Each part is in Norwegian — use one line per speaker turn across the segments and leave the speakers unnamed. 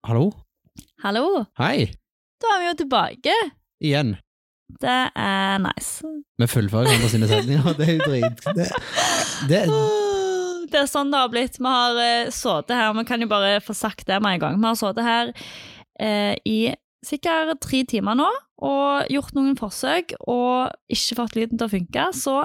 Hallo?
Hallo!
Hei!
Da er vi jo tilbake.
Igjen.
Det er nice.
Vi fullfører hverandre sine setninger, det er jo drit... Det, det,
Åh, Det er sånn det har blitt. Vi har eh, sittet her, vi kan jo bare få sagt det med en gang. Vi har sittet her eh, i sikkert tre timer nå og gjort noen forsøk og ikke fått lyden til å funke, så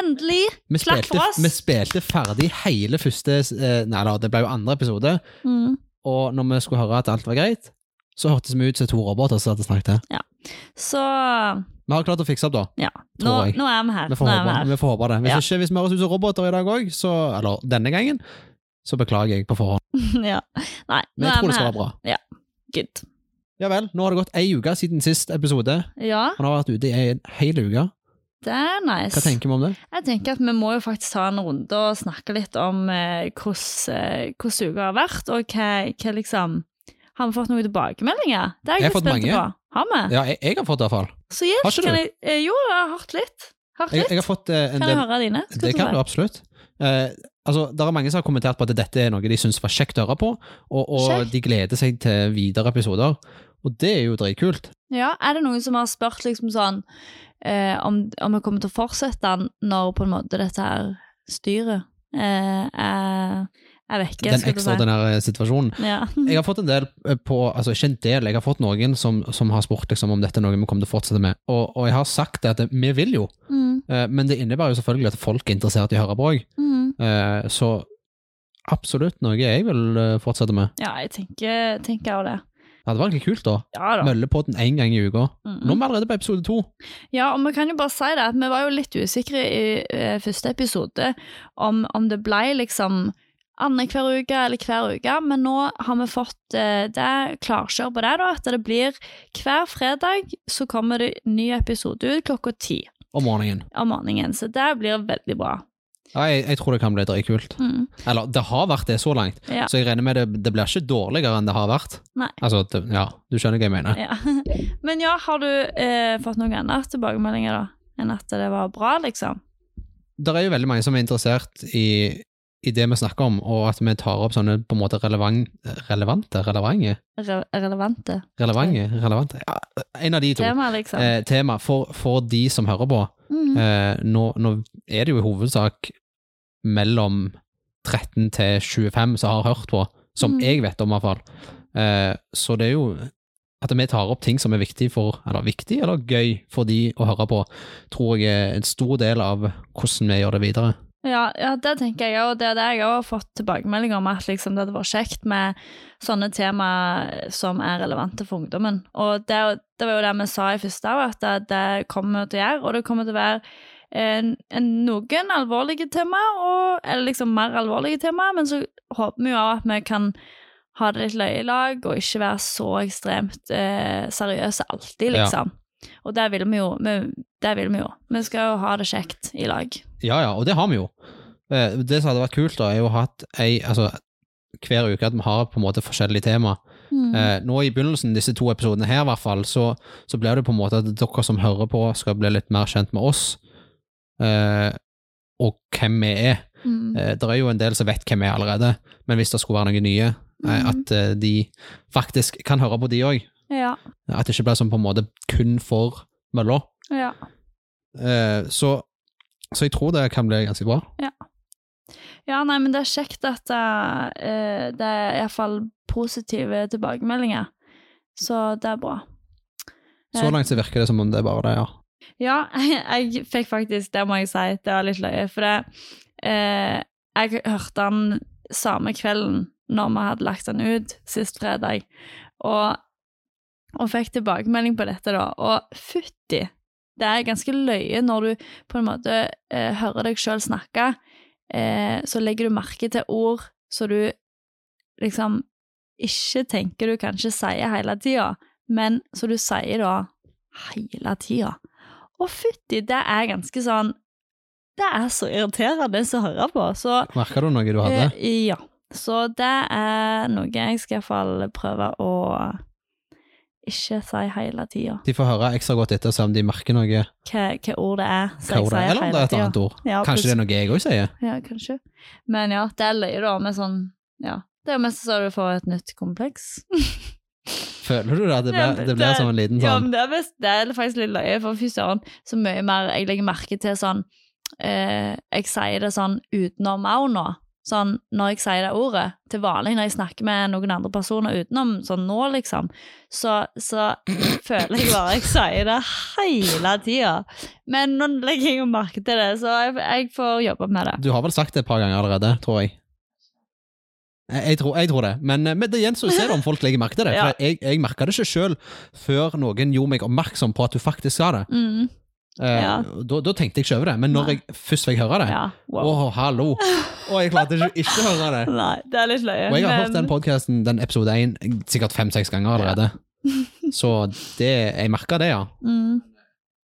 endelig!
vi,
Klakk for
spilte,
oss.
vi spilte ferdig hele første eh, Nei da, det ble jo andre episode,
Mm.
og når vi skulle høre at alt var greit, så hørtes vi ut som to roboter som hadde snakket.
Så
Vi har klart å fikse opp, da.
nå,
Tror jeg.
nå er vi her.
Vi får
Nå er vi
håpe,
her.
vi får håpe det. Hvis
Ja.
ikke, hvis vi høres ut som roboter i dag òg, så Eller denne gangen, så beklager jeg på forhånd.
ja. Nei,
Men
nå
jeg
er
tror
vi
det skal
her.
være bra.
Good.
Ja vel, nå har det gått ei uke siden sist episode.
Ja,
Han har vært ute i en hel uke.
det er nice.
Hva tenker vi om det?
Jeg tenker at vi må jo faktisk ta en runde og snakke litt om eh, hvordan eh, hvordan uka har vært, og hva, hva liksom Har vi fått noen tilbakemeldinger? Det er jeg,
Jeg har
litt
fått
spent
mange.
på. Har vi?
Ja, jeg, jeg har fått det iallfall.
Så yes,
Har ikke
kan
du?
jeg eh, Jo, jeg har hørt litt. Hørt
Jeg,
litt.
jeg har fått eh, en
kan jeg
del
høre dine? Skal
Det
du
kan
få-
du absolutt. Eh, altså, det er mange som har kommentert på at dette er noe de syns var kjekt å høre på, og, og
Kjekt.
de gleder seg til videre episoder. Og det er jo dritkult.
Ja, er det noen som har spurt liksom sånn eh, om, om jeg kommer til å fortsette den når på en måte dette her styret eh, er, er vekke?
Den
skulle du si.
ekstraordinære situasjonen.
Ja.
Jeg har fått en del eh, på Altså, ikke en del, jeg har fått noen som, som har spurt liksom, om dette er noe vi kommer til å fortsette med. Og, og jeg har sagt det at vi vil jo,
Mm,
eh, men det innebærer jo selvfølgelig at folk er interessert i å høre på òg.
mm.
Eh, så absolutt noe jeg vil eh, fortsette med.
ja, jeg tenker, tenker jeg også det.
Det hadde vært litt kult, da.
Ja da.
Møllepodden én gang i uka.
Mm.
Nå er vi allerede på episode to.
Ja, og vi kan jo bare si det, at vi var jo litt usikre i eh, første episode om, om det ble liksom annenhver uke eller hver uke, men nå har vi fått eh, det klarkjør på det, da, at det blir hver fredag så kommer det ny episode ut klokka ti
om morgenen.
om morgenen, så det blir veldig bra.
Ja, jeg, jeg tror det kan bli dritkult.
Mm.
Eller, det har vært det så langt,
Ja.
så jeg regner med det, det blir ikke dårligere enn det har vært.
Nei.
Altså, det, ja, du skjønner hva jeg mener.
Ja. Men ja, har du eh, fått noen andre tilbakemeldinger da, enn at det var bra, liksom?
Det er jo veldig mange som er interessert i, i det vi snakker om, og at vi tar opp sånne på en måte relevan- relevante, relevante,
Re relevante
relevante, relevante. Ja, en av de to.
tema, liksom?
Eh, tema for, for de som hører på.
Mm.
Eh, nå, nå er det jo i hovedsak mellom 13 til 25 som har hørt på, som
Mm.
jeg vet om i hvert fall. Eh, så det er jo at vi tar opp ting som er viktig, for, eller, viktig eller gøy for de å høre på, tror jeg er en stor del av hvordan vi gjør det videre.
Ja, ja, det tenker jeg òg. Det er det jeg òg har fått tilbakemeldinger om, at liksom det hadde vært kjekt med sånne tema som er relevante for ungdommen. Og det, er jo- det var jo det vi sa i første òg, at det, det kommer vi til å gjøre. Og det kommer til å være en, en, noen alvorlige tema, og, eller liksom mer alvorlige tema, men så håper vi jo òg at vi kan ha det litt løye i lag, og ikke være så ekstremt eh, seriøse alltid,
Ja.
liksom. Og det vil vi jo. Vi, det vil vi jo. Vi skal jo ha det kjekt i lag.
Ja, ja, og det har vi jo. Eh, Det som hadde vært kult, da, er jo å ha hatt ei, altså, hver uke at vi har på en måte forskjellige tema.
Mm.
Eh, nå i begynnelsen, disse to episodene her i hvert fall, så, så blir det på en måte at dere som hører på skal bli litt mer kjent med oss, eh, og hvem vi er.
Mm.
Eh, det er jo en del som vet hvem vi er allerede, men hvis det skulle være noen nye, eh,
Mhm.
at eh, de faktisk kan høre på de òg.
Ja.
At det ikke blir sånn på en måte kun for mølla.
ja.
Eh, så, så jeg tror det kan bli ganske bra.
Ja, nei, men det er kjekt at eh, det er iallfall positive tilbakemeldinger. Så det er bra.
Så
Eh,
langt så virker det som om det er bare det, ja.
Ja, jeg fikk faktisk Det må jeg si, det var litt løye. For det, eh, jeg hørte han samme kvelden når vi hadde lagt han ut sist fredag, og, og fikk tilbakemelding på dette, da. Og fytti, det er ganske løye når du på en måte eh, hører deg sjøl snakke, eh, så legger du merke til ord så du liksom ikke tenker du kanskje sier hele tida, men så du sier da hele tida. Å, fytti, det er ganske sånn Det er så irriterende å høre på. Så
Merka du noe du hadde?
eh, ja. Så det er noe jeg skal iallfall prøve å ikke si hele tida.
De får høre ekstra godt etter og se om de merker noe.
Hva, hva ord det er. så
Hva
jeg
ordet er,
sier
eller om det
hele
er et
tiden.
annet ord.
Ja,
Kanskje det er noe jeg òg sier?
Ja, kanskje. Men ja, det er løye da med sånn Ja, det Det er jo mest så du får et nytt kompleks.
Føler du det? at Det blir, det blir som en liten
Ja,
sånn
men det er, best, det er faktisk litt løye, for fy søren, så mye mer jeg legger merke til sånn eh, Jeg sier det sånn utenom au nå. Sånn når jeg sier det ordet. Til vanlig når jeg snakker med noen andre personer utenom, sånn nå, liksom, så, så føler jeg bare jeg sier det hele tida. Men nå legger jeg jo merke til det, så jeg, jeg får jobbe med det.
Du har vel sagt det et par ganger allerede, tror jeg. Jeg, jeg, tror, jeg tror det, men, eh, men det gjenstår å se om folk legger merke til det.
Ja.
For jeg, jeg merka det ikke sjøl før noen gjorde meg oppmerksom på at du faktisk sa det.
Mm,
Eh,
Ja.
da, da tenkte jeg ikke over det, men når
Nei.
jeg først fikk høre det
ja,
Å,
wow.
hallo! Å, jeg klarte ikke, ikke å høre det.
Nei, det er litt løye.
Og jeg har hørt
men- eh,
den podkasten, den episode én, sikkert fem-seks ganger allerede. Så det, jeg merka det, ja.
Mm.
eh,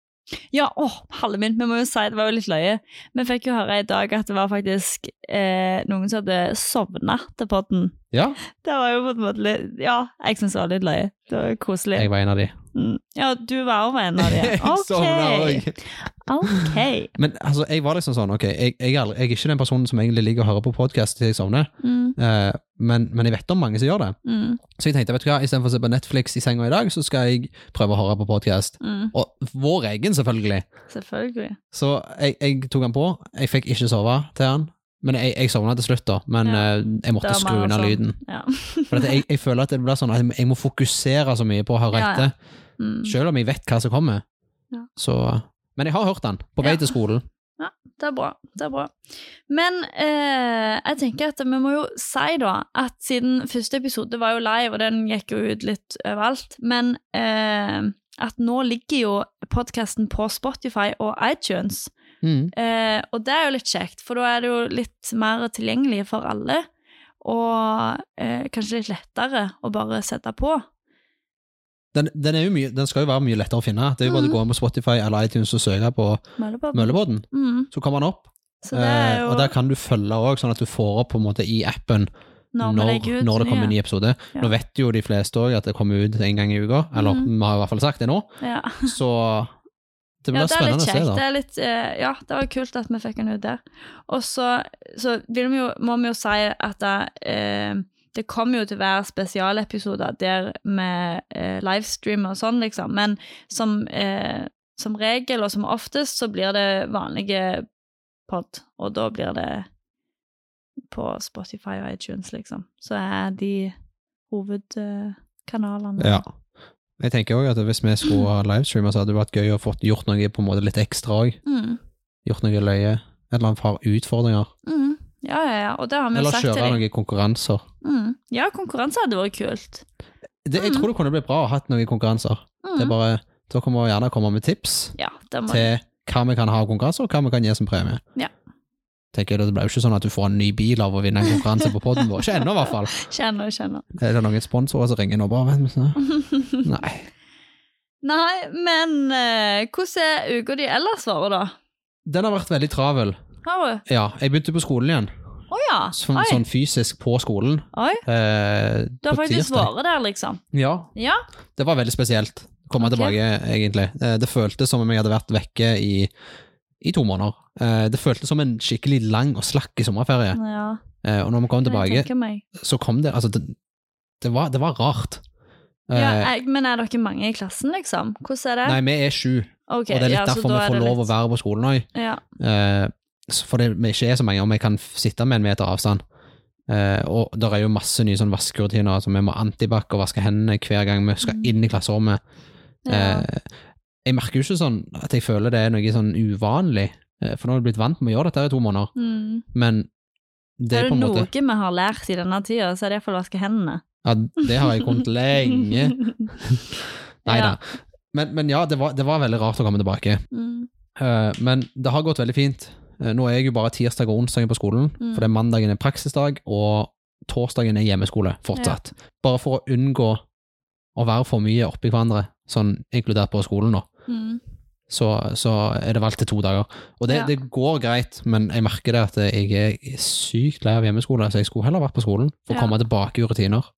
Ja, åh, halve min, vi må jo si det var jo litt løye. Vi fikk jo høre i dag at det var faktisk eh, noen som hadde sovna til podden.
Ja,
Det var jo på en måte litt, ja, jeg synes det var litt løye. Det var jo koselig.
jeg var en av de.
Mm. Ja, du var jo en av de.
Jeg sovna
Ok,
også.
ok.
Men altså, jeg var liksom sånn, ok, jeg, jeg, er, aldri- jeg er ikke den personen som egentlig ligger og hører på podkast til jeg sovner,
Mm,
eh, men, men jeg vet om mange som gjør det.
mm,
Så jeg tenkte, vet du hva, istedenfor å se på Netflix i senga i dag, så skal jeg prøve å høre på podkast.
mm.
Og vår egen, selvfølgelig.
Selvfølgelig.
Så jeg, jeg tok den på, jeg fikk ikke sove til den, men jeg, jeg sovna til slutt, da. Men
Ja.
eh, jeg måtte
Da var
skru
man
unna
sånn.
lyden.
Ja.
For at jeg, jeg føler at det blir sånn at jeg- jeg må fokusere så mye på å høre
Ja, ja.
etter,
Mm.
selv om jeg vet hva som kommer.
Ja.
Så eh, Men jeg har hørt den, på vei
Ja.
til skolen.
Det er bra. det er bra. Men eh, jeg tenker at vi må jo si da at siden første episode var jo live, og den gikk jo ut litt overalt, men eh, at nå ligger jo podkasten på Spotify og iTunes.
Mm.
Eh, og det er jo litt kjekt, for da er det jo litt mer tilgjengelig for alle. Og eh, kanskje litt lettere å bare sette på.
Den, den, er jo mye, den skal jo være mye lettere å finne. Det er jo bare
Mhm.
å gå inn på Spotify eller iTunes og søke på
Møllebobben.
Møllebodden,
Mm.
så kommer den opp.
Så det er
Eh,
jo
og der kan du følge òg, sånn at du får opp på en måte i appen når,
vi
når,
legger ut
det kommer en ny
nye.
episode.
Ja.
Nå vet jo de fleste òg at det kommer ut en gang i uka, eller
Mhm.
vi har i hvert fall sagt det nå,
Ja.
så det blir
Ja, det er
spennende
litt
å se,
kjekt. Det
da.
er litt, eh, ja, det var kult at vi fikk den ut der. Og så, så vil vi jo, må vi jo si at det, eh, det kommer jo til å være spesialepisoder der med eh, livestreamer og sånn, liksom. Men som, eh, som regel, og som oftest, så blir det vanlige pod, og da blir det på Spotify og iTunes, liksom. Så er de hovedkanalene.
Ja. Jeg tenker òg at hvis vi skulle ha livestreamer, så hadde det vært gøy å fått gjort noe på en måte litt ekstra òg.
Mm.
Gjort noe løye. Et eller annet par utfordringer.
Mm. ja, ja, ja. Og det har vi jo
Eller
sagt til
kjøre
dem.
noen konkurranser.
Mm. Ja, konkurranse hadde vært kult.
Det, jeg
Mhm.
tror det kunne blitt bra å ha hatt noen konkurranser.
Mm.
Det er bare, Dere må gjerne komme med tips
ja, det må
til hva vi kan ha av konkurranser, og hva vi kan gi som premie.
Ja.
Tenker jeg, Det blir jo ikke sånn at du får en ny bil av å vinne en konkurranse på poden vår. Ikke ennå, i hvert fall.
Kjenner, kjenner.
Er det noen sponsorer som ringer nå? Bare, vent, vent, vent. Nei.
Nei, men eh, hvordan er uka di ellers vært, da?
Den har vært veldig travel.
Har du?
Ja, jeg begynte på skolen igjen.
Å ja.
Som,
Oi.
sånn fysisk på skolen.
Oi.
Eh,
Du har
på
faktisk
tirsdag.
vært der, liksom?
Ja,
Ja.
det var veldig spesielt. å Komme
Ok.
tilbake, egentlig. Eh, det føltes som om jeg hadde vært vekke i, i to måneder. Eh, det føltes som en skikkelig lang og slakk i sommerferie.
ja.
Eh, og når vi kom
kan Jeg
tilbake,
tenker meg.
så kom det Altså, det, det, var, det var rart. Eh,
Ja, jeg, men er dere mange i klassen, liksom? Hvordan er det?
nei, vi er sju,
Ok,
og det er litt
ja, så
derfor
da
vi
er
får
det
lov å
litt-
være på skolen òg.
Ja.
Eh, så fordi vi ikke er så mange, og vi kan f- sitte med en meter avstand. Eh, og det er jo masse nye sånn vaskerutiner, altså vi må antibac og vaske hendene hver gang vi skal
Mm.
inn i klasserommet.
Ja.
Eh, jeg merker jo ikke sånn at jeg føler det er noe sånn uvanlig, eh, for nå har jeg blitt vant med å gjøre dette her i to måneder,
Mm.
men det
Er
er
det
på en
noe
måte
vi har lært i denne tida, så er det iallfall å vaske hendene.
ja, Det har jeg kommet lenge. Nei da.
Ja.
Men, men ja, det var, det var veldig rart å komme tilbake.
Mm.
Eh, men det har gått veldig fint. Eh, nå er jeg jo bare tirsdag og onsdag på skolen,
Mm.
for det er mandagen er praksisdag, og torsdagen er hjemmeskole fortsatt. Bare for å unngå å være for mye oppi hverandre, sånn inkludert på skolen nå,
Mm.
så, så er det valgt til to dager. Og det,
Ja.
det går greit, men jeg merker det at jeg er sykt lei av hjemmeskole, så jeg skulle heller vært på skolen for å
Ja.
komme tilbake i rutiner.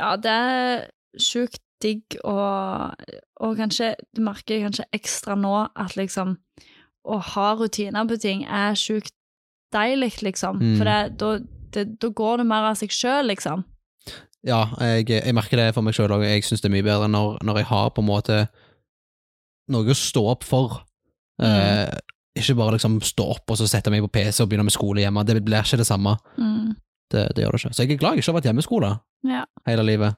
Ja, det er sjukt digg, og, og kanskje, du merker kanskje ekstra nå at liksom å ha rutiner på ting er sjukt deilig, liksom.
Mm.
For det, da det, da går det mer av seg sjøl, liksom.
Ja, jeg, jeg merker det for meg sjøl òg. Jeg syns det er mye bedre når, når jeg har på en måte noe å stå opp for.
Mm.
Eh, ikke bare liksom stå opp og så sette meg på PC og begynne med skole hjemme. Det blir ikke det samme.
Mm.
Det, det gjør det ikke. Så jeg er glad jeg ikke har vært hjemmeskole
Ja.
hele livet.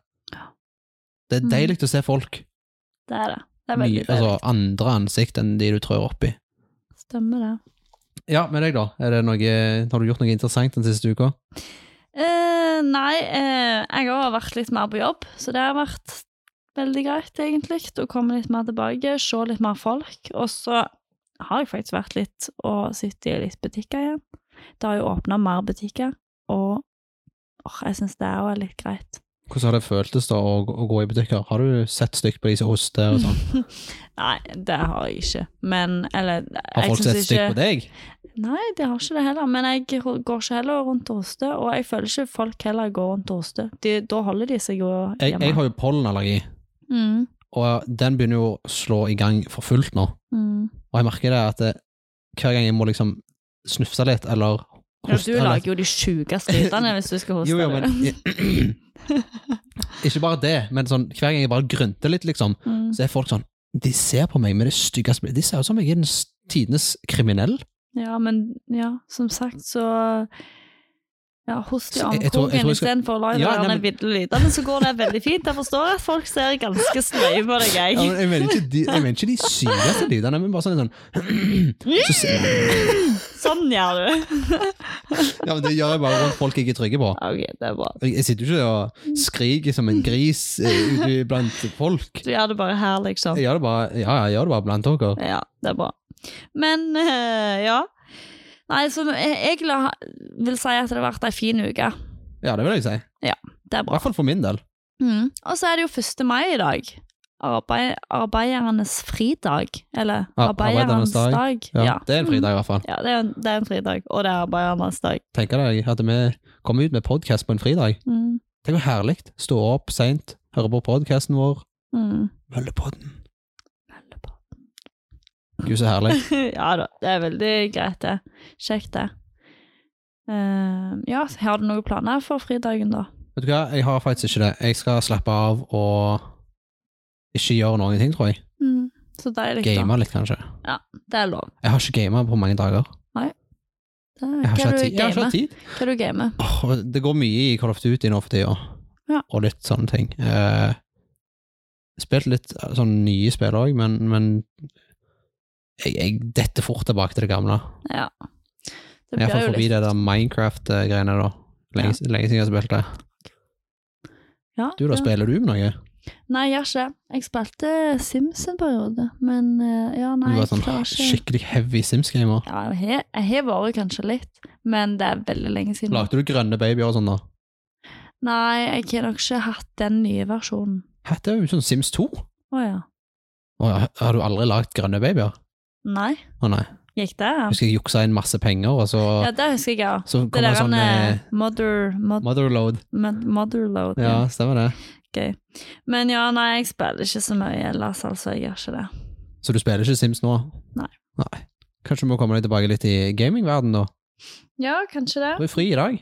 Det er
Mm.
deilig å se folk.
Det er det. Det er veldig
Mye, altså andre ansikt enn de du trør oppi.
deilig. Stemmer det.
Ja, med deg, da. Er det noe, har du gjort noe interessant den siste uka?
Eh, nei, eh, jeg har vært litt mer på jobb, så det har vært veldig greit, egentlig. Å komme litt mer tilbake, se litt mer folk. Og så har jeg faktisk vært litt og sittet i litt butikker igjen. Det har jo åpna mer butikker, og åh, jeg syns det òg er litt greit.
Hvordan har det føltes da å, å gå i butikker? Har du sett stygt på de som hoster og sånn?
Nei, det har jeg ikke. Men Eller
Har
jeg
folk
synes
sett stygt på deg?
Nei, de har ikke det heller, men jeg går ikke heller rundt og hoster. Og jeg føler ikke folk heller går rundt og hoster. De, da holder de seg jo
Jeg,
hjemme.
jeg har jo pollenallergi,
Mm,
og den begynner jo å slå i gang for fullt nå.
mm.
Og jeg merker det at det, hver gang jeg må liksom snufse litt, eller
Ja,
hoste
du lager jo de sjukeste lydene hvis du skal hoste.
jo, jo, men,
du.
Ikke bare det, men sånn, hver gang jeg bare grynter litt, liksom,
Mm.
så er folk sånn De ser på meg med det styggeste blikket. De ser ut som jeg er den s- tidenes kriminell.
Ja, men ja, som sagt, så ja, Host i
Så jeg- jeg tror- jeg
armkroken
tror jeg skal-
istedenfor å lage
Ja,
de
nei,
der
men-
ville lydene, så går det veldig fint. Jeg forstår at folk ser ganske sløye på deg,
Ja,
jeg.
men jeg, mener ikke de, jeg mener ikke de sykeste lydene, men bare sånn, sånn så, ser-
Sånn gjør du.
Ja, men Det gjør jeg bare rundt folk jeg ikke er trygge på.
Ok, det er bra.
Jeg jeg sitter jo ikke og skriker som en gris eh, ute blant folk.
Du gjør det bare her, liksom.
Jeg gjør det bare, ja, jeg gjør det bare blant dere.
Ja, det er bra. Men eh, ja. Nei, så jeg, jeg la- vil si at det har vært ei en fin uke.
Ja, det vil jeg si.
Det er
I
bra.
hvert fall for min del.
Mm. Og så er det jo 1. mai i dag. Arbeid, arbeidernes fridag. Eller
Ja, arbeidernes
arbeidernes
dag.
dag.
Ja,
Ja. Mm.
Det er en fridag, i hvert fall.
Ja, det er, en, det er en fridag, og det er arbeidernes dag.
Tenker deg at vi kommer ut med podkast på en fridag.
Mm.
Tenk hvor herlig. Stå opp seint, høre på podkasten vår.
Mm.
Møllepodden. Gud, så herlig.
ja da, det er veldig greit, det. Kjekt, det. Eh, ja, så har du noen planer for fridagen, da?
Vet du hva, jeg har faktisk ikke det. Jeg skal slappe av og ikke gjøre noen ting, tror jeg.
Mm. Så deilig, da.
Game litt, kanskje.
Det er lov.
Jeg har ikke gama på mange dager.
Det er,
Jeg har
hva
ikke hatt
du
tid. Jeg har ikke
gamer?
hatt tid.
Hva du gamer?
Åh, det går mye i Call of Duty nå for tida,
Ja.
og litt sånne ting. Eh, spilt litt eh, sånn nye spill òg, men, men jeg, jeg detter fort tilbake til det gamle.
Ja.
Jeg
Det
har
blir
fått
jo
forbi
litt
det der Minecraft-greiene, da. Lenge, lenge siden jeg har spilt det.
Ja,
Du, da
ja.
spiller du med noe?
Nei, jeg gjør ikke det. Jeg spilte Sims en periode, men eh, ja, nei,
du
jeg
var sånn
klarer ikke
skikkelig heavy Sims-gamer.
ja, Jeg har- jeg har vært kanskje litt, men det er veldig lenge siden.
Lagde du grønne babyer og sånn, da?
Nei, jeg har nok ikke hatt den nye versjonen.
Hæ, det er jo sånn Sims 2.
Å ja.
Å, ja, har du aldri lagd grønne babyer?
Nei,
Å nei.
gikk det? Ja,
Husker jeg juksa inn masse penger, og så,
ja det husker jeg, ja.
så
Det
kom det,
der
sånn
med
eh,
mother, mod,
Motherload.
mod, Motherload.
Ja,
Ja.
stemmer det.
Gøy. Men ja, nei, jeg spiller ikke så mye ellers, altså. Jeg gjør ikke det.
Så du spiller ikke Sims nå?
Nei.
Nei. Kanskje du må komme deg tilbake litt i gamingverden da?
Ja, kanskje det.
Du er fri i dag,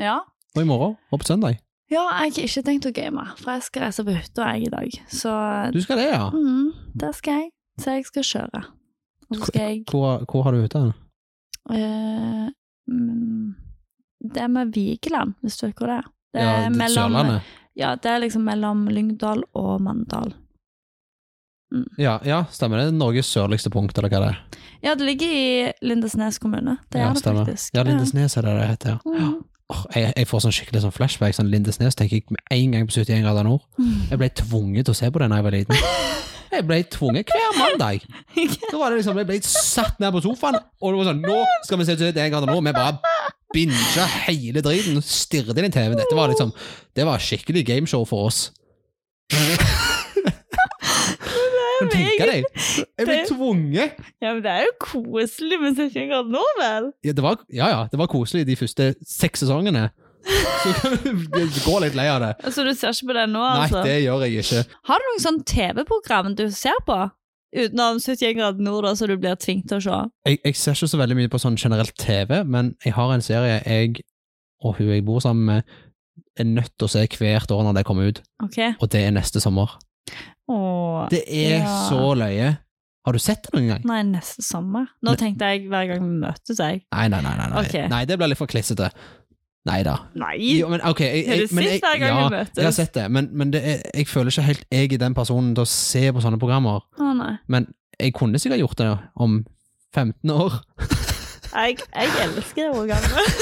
Ja.
og i morgen, og på søndag.
Ja, jeg har ikke tenkt å game, for jeg skal reise på hytta jeg i dag. Så
Du skal det, ja.
mm, det skal jeg. Så jeg skal kjøre. Og så skal jeg
Hvor, hvor har du hytta? hen?
øh, mm, Det er med Vigeland, hvis du vet hvor det er. Det
Ja,
er
det- Sørlandet.
Ja, det er liksom mellom Lyngdal og Mandal.
Ja, ja, stemmer det. Norges sørligste punkt, eller hva det er.
Ja, det ligger i Lindesnes kommune. Det
ja,
er det
stemmer.
faktisk.
Ja, Lindesnes er det det heter, ja.
Mm.
Åh, jeg, jeg får sånn skikkelig sånn flashback. Sånn Lindesnes tenker jeg med en gang på 71 grader nord. Jeg ble tvunget til å se på det da jeg var liten. Jeg ble tvunget hver mandag. Da var det liksom, Jeg ble satt ned på sofaen, og det var sånn Nå skal vi se 71 grader nord. Vi bare binga hele driten og stirret inn i TV-en. Dette var liksom Det var skikkelig gameshow for oss. Men tenk deg, jeg ble
det-
tvunget
Ja, men det er jo koselig med 71 grader nå, vel?
ja, det var, ja ja, det var koselig de første seks sesongene. Så kan du gå litt lei av det.
Så Altså, du ser ikke på det nå,
Nei,
altså?
det gjør jeg ikke.
Har du noen sånn TV-program du ser på? Utenom 71 grader nord, da, som du blir tvunget til å se?
Jeg, jeg ser ikke så veldig mye på sånn generelt TV, men jeg har en serie jeg og hun jeg bor sammen med, er nødt til å se hvert år når det kommer ut,
Ok.
og det er neste sommer.
Åh.
Det er
Ja.
så løye. Har du sett det noen gang?
Nei, neste sommer. Nå tenkte jeg hver gang vi møtes, jeg.
Nei, nei, nei. nei, nei.
Ok.
nei det blir litt for klissete. Nei da.
Nei!
Jo, men ok. Jeg,
Har du
jeg, men
sett
jeg,
hver gang
ja,
vi møtes?
jeg har sett det, men, men det er, jeg føler ikke helt jeg er den personen til å se på sånne programmer.
Å nei.
Men jeg kunne sikkert gjort det om 15 år.
Jeg, jeg elsker programmet.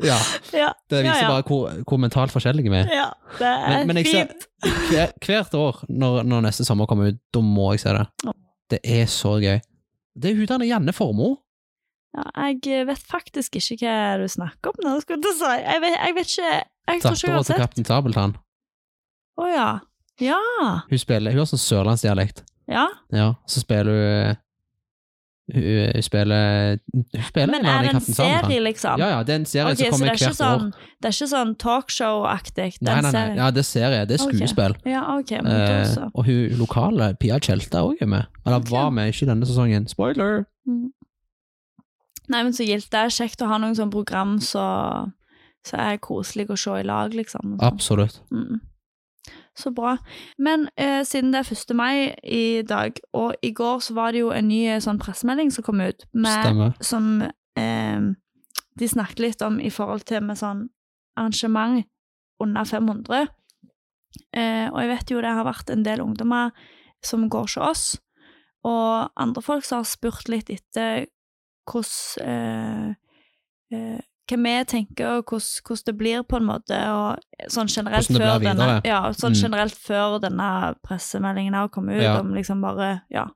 Ja,
ja,
Det viser
Ja, ja.
bare hvor, hvor mentalt forskjellige vi er.
ja, det er
Men- men jeg ser-
fint.
Hver, hvert år når, når neste sommer kommer ut, da må jeg se det.
Ja.
Det er så gøy. Det er hun der Janne Formoe.
Ja, jeg eh, vet faktisk ikke hva du snakker om nå, skulle jeg til å si. Jeg vet, jeg vet ikke Jeg tror ikke jeg
Dattera
har
til
sett.
Kaptein Sabeltann.
Å ja. Ja.
Hun, spiller, hun har sånn sørlandsdialekt.
ja.
Ja, så spiller hun Hun, hun spiller Hun spiller
Men
en annen
er
i
det en
Kaptein Sabeltann.
serie, liksom?
Ja, ja, det er en serie som
Ok, så det
kommer
er ikke
hvert
sånn,
år.
det er ikke sånn talkshow-aktig?
Nei, nei,
den
nei.
serien?
Ja, det er serie. Det er
Ok.
skuespill.
Ja, ok, men da
Eh,
så.
og hun lokale, Pia Tjelta, òg er med. Eller
Ok.
var med, ikke denne sesongen. Spoiler!
Mm. Nei, men så gildt. Det er kjekt å ha noen sånn program så, så er koselig å se i lag, liksom. og sånn.
Absolutt.
Mm. Så bra. Men eh, siden det er 1. mai i dag, og i går så var det jo en ny eh, sånn pressemelding som kom ut, med,
Stemmer.
som eh, de snakket litt om i forhold til med sånn arrangement under 500. Eh, og jeg vet jo det har vært en del ungdommer som går til oss, og andre folk som har spurt litt etter hvordan eh, eh, hva vi tenker, og hvordan, hvordan det blir, på en måte, og sånn generelt,
Hvordan det
før
blir
denne,
videre.
ja, sånn
Mm.
generelt før denne pressemeldingen har kommet ut,
Ja.
om liksom bare ja,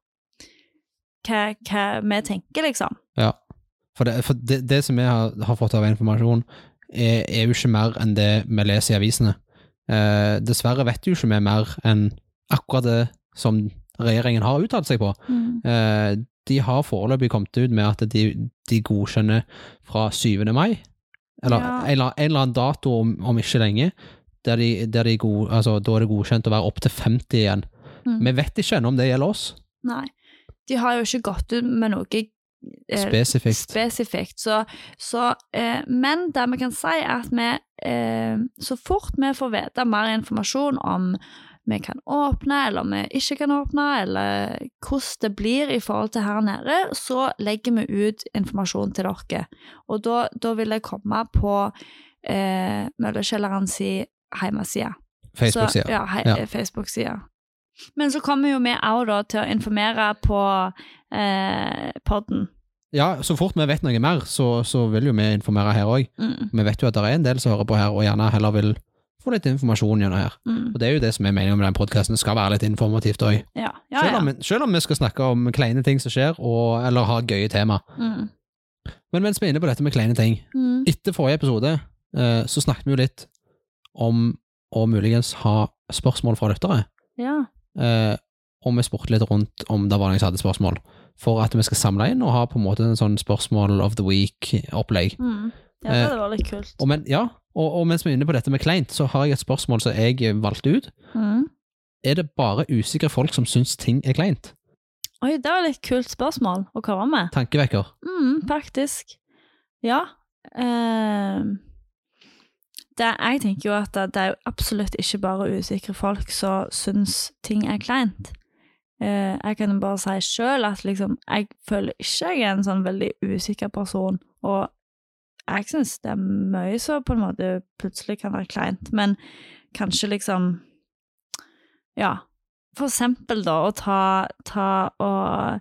hva, hva vi tenker, liksom.
Ja. For det, for det, det som jeg har, har fått av informasjon, er, er jo ikke mer enn det vi leser i avisene. Eh, dessverre vet jo ikke vi mer enn akkurat det som regjeringen har uttalt seg på.
Mm,
Eh, de har foreløpig kommet ut med at de, de godkjenner fra 7. mai, eller
Ja.
en, eller- en eller annen dato om, om ikke lenge, der, de, der de god, altså, da er det godkjent å være opptil 50 igjen.
Mm.
Vi vet ikke ennå om det gjelder oss,
Nei. De har jo ikke gått ut med noe eh,
spesifikt.
spesifikt. Så, så, eh, men det vi kan si, er at vi eh, så fort vi får vite mer informasjon om vi kan åpne, eller om vi ikke kan åpne, eller hvordan det blir i forhold til her nede, så legger vi ut informasjon til dere. Og da, da vil det komme på eh, Møllekjelleren si hjemmeside.
Facebook-sida.
Så, ja, hei,
Ja.
Facebook-sida. Men så kommer jo vi òg da til å informere på eh, podden.
Ja, så fort vi vet noe mer, så, så vil jo vi informere her òg.
Mm,
Vi vet jo at det er en del som hører på her, og gjerne heller vil få litt informasjon gjennom her.
mm.
Og det er jo det som er meningen med den podkasten, det skal være litt informativt òg.
Ja, ja,
Selv,
ja.
om- selv om vi skal snakke om kleine ting som skjer, og, eller ha gøye tema.
Mm.
Men mens vi er inne på dette med kleine ting,
Mm.
etter forrige episode eh, så snakket vi jo litt om å muligens ha spørsmål fra lyttere.
ja.
Eh, og vi spurte litt rundt om det var noen som hadde spørsmål, for at vi skal samle inn og ha på en måte en sånn spørsmål of the week-opplegg.
Mm. ja,
Eh,
det var litt kult.
Og, men, ja, og, og mens vi er inne på dette med kleint, så har jeg et spørsmål som jeg valgte ut.
Mm.
Er det bare usikre folk som syns ting er kleint?
Oi, det var litt kult spørsmål å komme med.
Tankevekker.
Mm, faktisk. Ja. ehm, det, jeg tenker jo at det, det er jo absolutt ikke bare usikre folk som syns ting er kleint. Eh, jeg kan jo bare si sjøl at liksom, jeg føler ikke jeg er en sånn veldig usikker person. Og jeg syns det er mye som på en måte plutselig kan være kleint, men kanskje liksom Ja. For eksempel, da, å ta, ta og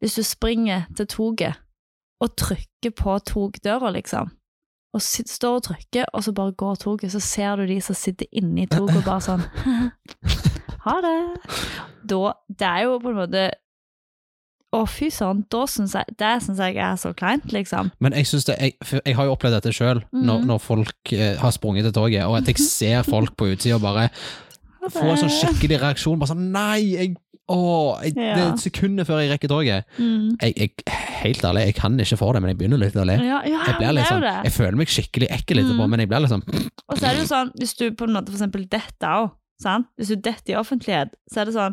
Hvis du springer til toget og trykker på togdøra, liksom, og sit, står og trykker, og så bare går toget, så ser du de som sitter inne i toget og bare sånn Ha det! Da Det er jo på en måte Å, fy søren, da syns jeg Det syns jeg er så kleint, liksom.
Men jeg, synes det, jeg, for jeg har jo opplevd dette sjøl, når,
Mhm.
når folk eh, har sprunget til toget, og at jeg ser folk på utsida bare
Ha
få en sånn
det.
skikkelig reaksjon. Bare sånn Nei! Jeg, å, jeg,
Ja.
Det er sekundet før jeg rekker toget.
Mm.
Jeg, jeg, helt ærlig, jeg kan ikke få det, men jeg begynner litt å le.
Ja, ja,
Jeg, blir
det
litt
er jo
sånn-
det.
jeg føler meg skikkelig ekkel etterpå,
Mhm.
men jeg blir liksom
Og så er det jo sånn, hvis du på en måte for eksempel detter òg, sant? Hvis du detter i offentlighet, så er det sånn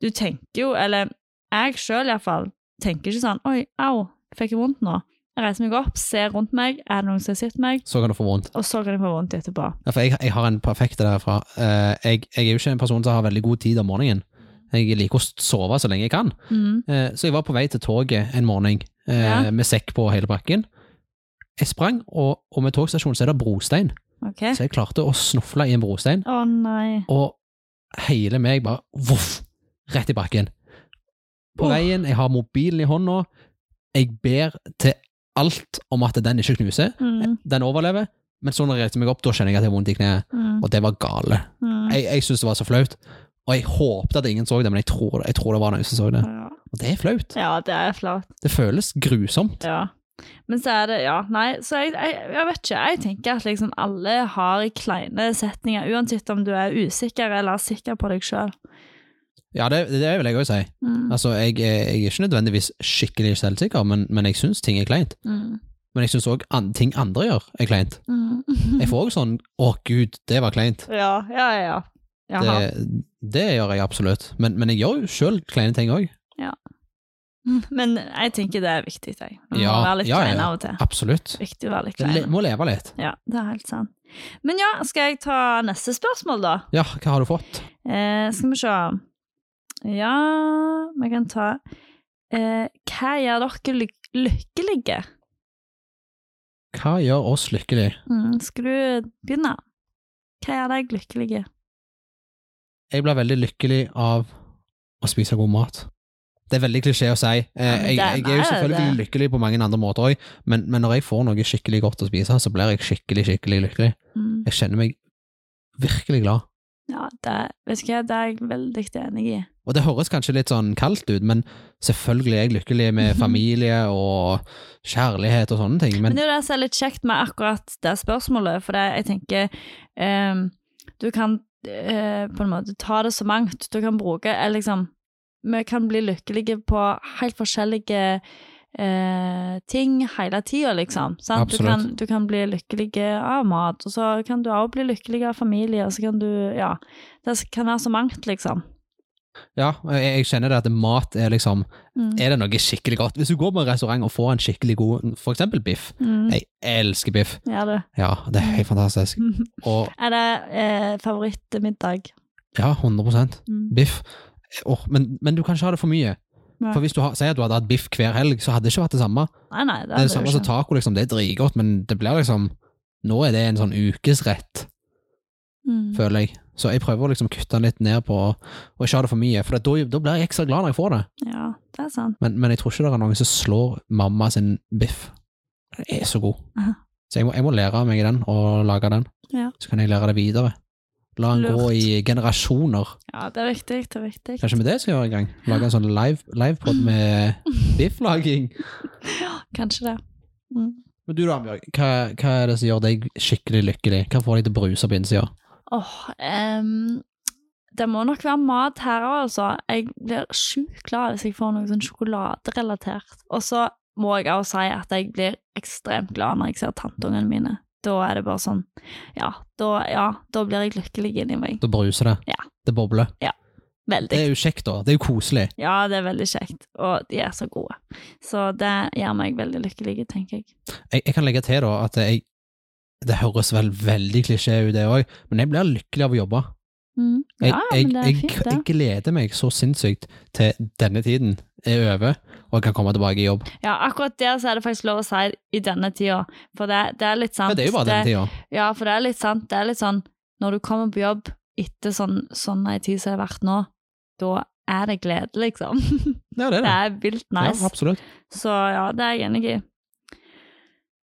Du tenker jo, eller jeg sjøl iallfall, tenker ikke sånn Oi, au, fikk jeg vondt nå? Jeg reiser meg opp, ser rundt meg, er det noen som har sett meg,
Så kan du få vondt.
og så kan jeg få vondt etterpå.
Ja, for jeg, jeg har en perfekt derfra. Eh, jeg, jeg er jo ikke en person som har veldig god tid om morgenen. Jeg liker å sove så lenge jeg kan.
Mm.
Eh, Så jeg var på vei til toget en morgen eh,
Ja.
med sekk på hele bakken. Jeg sprang, og, og med togstasjonen så er det brostein.
Ok.
Så jeg klarte å snufle i en brostein,
Å nei.
og hele meg bare voff, rett i bakken. På
Åh.
veien, jeg har mobilen i hånda. Jeg ber til alt om at den ikke knuser.
Mm.
Den overlever, men så når jeg reiste meg opp, da kjenner jeg at jeg har vondt i kneet.
Mm.
Og det var gale.
Mm.
Jeg, jeg syntes det var så flaut. Og jeg håpte at ingen så det, men jeg tror, jeg tror det var noen som så det.
Ja.
Og det er flaut.
ja, det er flaut.
Det føles grusomt.
Ja. Men så er det Ja, nei, så jeg, jeg, jeg vet ikke. Jeg tenker at liksom alle har kleine setninger, uansett om du er usikker eller sikker på deg sjøl.
Ja, det, det vil jeg òg si.
Mm.
Altså, jeg, er- jeg er ikke nødvendigvis skikkelig selvsikker, men, men jeg syns ting er kleint.
Mm.
Men jeg syns òg an ting andre gjør, er kleint.
Mm.
Jeg får òg sånn 'Å, gud, det var kleint'.
Ja, ja, ja. Jaha.
Det, det gjør jeg absolutt. Men, men jeg gjør jo sjøl kleine ting òg.
Men jeg tenker det er viktig, jeg. Man må
Ja,
være litt
ja, ja,
klein
ja.
av og til.
Absolutt.
Viktig å være litt
Det le
klein.
må leve litt.
Ja, det er helt sant. Men ja, skal jeg ta neste spørsmål, da?
Ja, hva har du fått?
Eh, skal vi se Ja, vi kan ta eh, Hva gjør dere lyk lykkelige?
Hva gjør oss lykkelige?
Mm, skal du begynne? Hva gjør deg lykkelige?
Jeg blir veldig lykkelig av å spise god mat. Det er veldig klisjé å si. Eh,
men
Jeg,
det
jeg er jo
er det.
selvfølgelig lykkelig på mange andre måter òg, men, men når jeg får noe skikkelig godt å spise, så blir jeg skikkelig, skikkelig lykkelig.
Mm.
Jeg kjenner meg virkelig glad.
Ja, det, vet du hva, det er jeg veldig enig i.
Og det høres kanskje litt sånn kaldt ut, men selvfølgelig er jeg lykkelig med familie og kjærlighet og sånne ting,
Men
men
det er jo det som er litt kjekt med akkurat det spørsmålet, for det, jeg tenker ehm, du kan eh, på en måte ta det så mangt. Du kan bruke eller liksom, Vi kan bli lykkelige på helt forskjellige eh, ting hele tida, liksom. Sant? Du,
Absolutt.
kan, du kan bli lykkelig av mat, og så kan du òg bli lykkelig av familie, og så kan du Ja. Det kan være så mangt, liksom.
ja, jeg, jeg kjenner det at mat er liksom
Mm.
Er det noe skikkelig godt? Hvis du går på en restaurant og får en skikkelig god, for eksempel biff.
Mm.
Jeg elsker biff.
Ja, du.
Ja, det er helt fantastisk. Og
Er det eh, favorittmiddag?
ja, 100
Mm.
biff. Åh, men, men du kan ikke ha det for mye.
Nei.
For hvis du har, sier at du hadde hatt biff hver helg, så hadde det ikke vært det samme.
Nei, nei, det
Det er
er
det samme som taco, liksom. Det er dritgodt, men det blir liksom Nå er det en sånn ukesrett,
Mm.
føler jeg. Så jeg prøver å liksom kutte den litt ned på å å ikke ha det for mye, for da, da blir jeg ekstra glad når jeg får det.
Ja, det er sant.
Men, men jeg tror ikke det er noen som slår mamma sin biff. Den er så god.
Aha.
Så jeg må, jeg må lære meg den, og lage den.
Ja.
Så kan jeg lære det videre. La den gå
Lurt.
i generasjoner.
Ja, det er viktig, det er viktig.
Kanskje vi det skal gjøre en gang? Lage en sånn live- livepod med bifflaging.
Kanskje det. Mm.
Men du da, Bjørg, hva, hva er det som gjør deg skikkelig lykkelig? Hva får deg til å bruse på innsida?
Åh, em, det må nok være mat her òg, altså. Jeg blir sjukt glad hvis jeg får noe sånn sjokoladerelatert. Og så må jeg òg si at jeg blir ekstremt glad når jeg ser tanteungene mine. Da er det bare sånn Ja, da, ja, da blir jeg lykkelig inni meg.
Da bruser det.
Ja.
Det bobler. Det
Veldig.
er jo kjekt, da. Det er jo koselig.
Ja, det er veldig kjekt, og de er så gode. Så det gjør meg veldig lykkelig, tenker jeg.
Jeg, jeg kan legge til da at jeg Det høres vel veldig klisjé ut, det òg, men jeg blir lykkelig av å jobbe.
Mm.
Jeg,
Ja,
jeg,
men det er
jeg,
fint, det.
jeg gleder meg så sinnssykt til denne tiden er over, og jeg kan komme tilbake i jobb.
Ja, akkurat der så er det faktisk lov å si i denne tida, for det, det er litt sant.
Men det er jo bare denne tida.
Ja, for det er litt sant. Det er litt sånn, når du kommer på jobb etter sånn, sånn ei tid som det har vært nå, da er det glede, liksom.
Ja, det er
Det
det.
er vilt nice.
Ja, absolutt.
så ja, det er jeg enig i.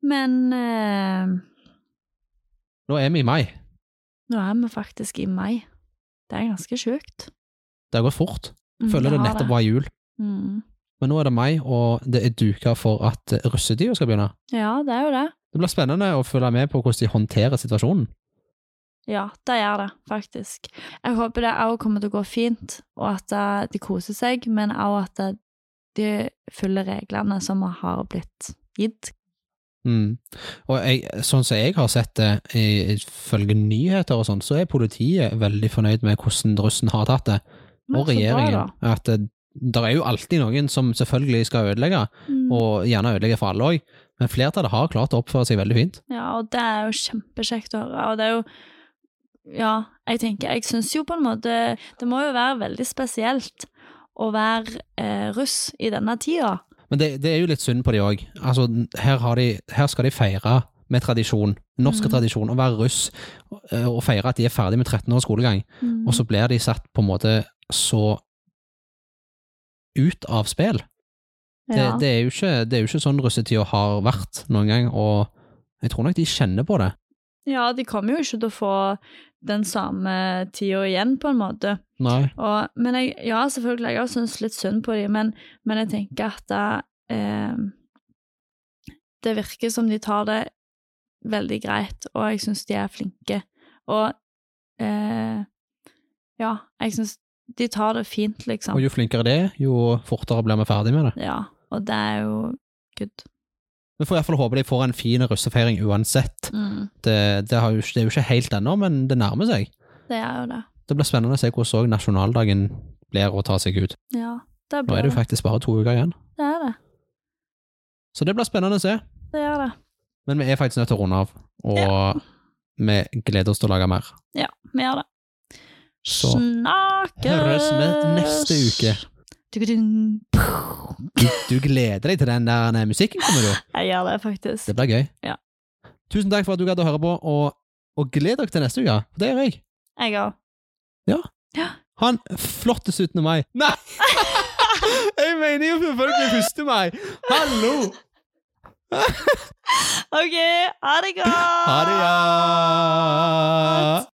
Men eh,
Nå er vi i mai.
nå er vi faktisk i mai. Det er ganske sjukt.
Det har gått fort.
Mm,
Føler det
har
nettopp var jul.
Mm.
Men nå er det mai, og det er duka for at eh, russetida skal begynne.
Ja, det er jo det.
Det blir spennende å følge med på hvordan de håndterer situasjonen.
Ja, det gjør det, faktisk. Jeg håper det òg kommer til å gå fint, og at eh, de koser seg, men òg at eh, de følger reglene som har blitt gitt.
Mm. Og jeg, sånn som jeg har sett det, i- ifølge nyheter og sånn, så er politiet veldig fornøyd med hvordan russen har tatt det,
Men
og
så bra,
regjeringen.
da.
at eh, det er jo alltid noen som selvfølgelig skal ødelegge,
Mm.
og gjerne ødelegge for alle òg, men flertallet har klart å oppføre seg veldig fint.
Ja, og det er jo kjempekjekt å høre. Og det er jo Ja, jeg tenker Jeg syns jo på en måte Det må jo være veldig spesielt å være eh, russ i denne tida.
Men det, det er jo litt synd på de òg. Altså, her, har de- her skal de feire med tradisjon, norsk
Mhm.
tradisjon, å være russ, eh, og feire at de er ferdig med 13 års skolegang,
Mm.
og så blir de satt på en måte så ut av spill. Det,
Mm. ja.
det, er jo ikke, det er jo ikke sånn russetida har vært noen gang, og jeg tror nok de kjenner på det.
ja, de kommer jo ikke til å få den samme tida igjen, på en måte.
Nei.
Og, men jeg, ja, selvfølgelig, jeg har syntes litt synd på dem, men, men jeg tenker at det, eh, det virker som de tar det veldig greit, og jeg syns de er flinke. Og eh, ja, jeg syns de tar det fint, liksom.
Og jo flinkere det er, jo fortere blir vi ferdig med det.
Ja, og det er jo good.
Vi får i hvert fall håpe de får en fin russefeiring uansett.
Mm,
Det, det, har jo, ikke- det er jo ikke helt ennå, men det nærmer seg.
det er jo det.
Det blir spennende å se hvordan også nasjonaldagen blir å ta seg ut.
Ja, det er
Nå
bra.
er det jo faktisk bare to uker igjen,
Det er det.
så det blir spennende å se.
Det er det.
Men vi er faktisk nødt til å runde av, og vi gleder oss til å lage mer.
Ja, vi gjør det.
Så
Snakkes!
høres vi neste uke.
Tududun.
Du, du gleder deg til den der nei, musikken kommer, du.
Jeg gjør det faktisk.
Det blir gøy.
Ja.
Tusen takk for at du gadd å høre på, og, og gled dere til neste uke, for det gjør jeg.
Jeg òg.
Ha en flott 17. mai. Nei! Jeg mener jo selvfølgelig 1. mai. Hallo!
OK, ha det godt!
Ha det, ja!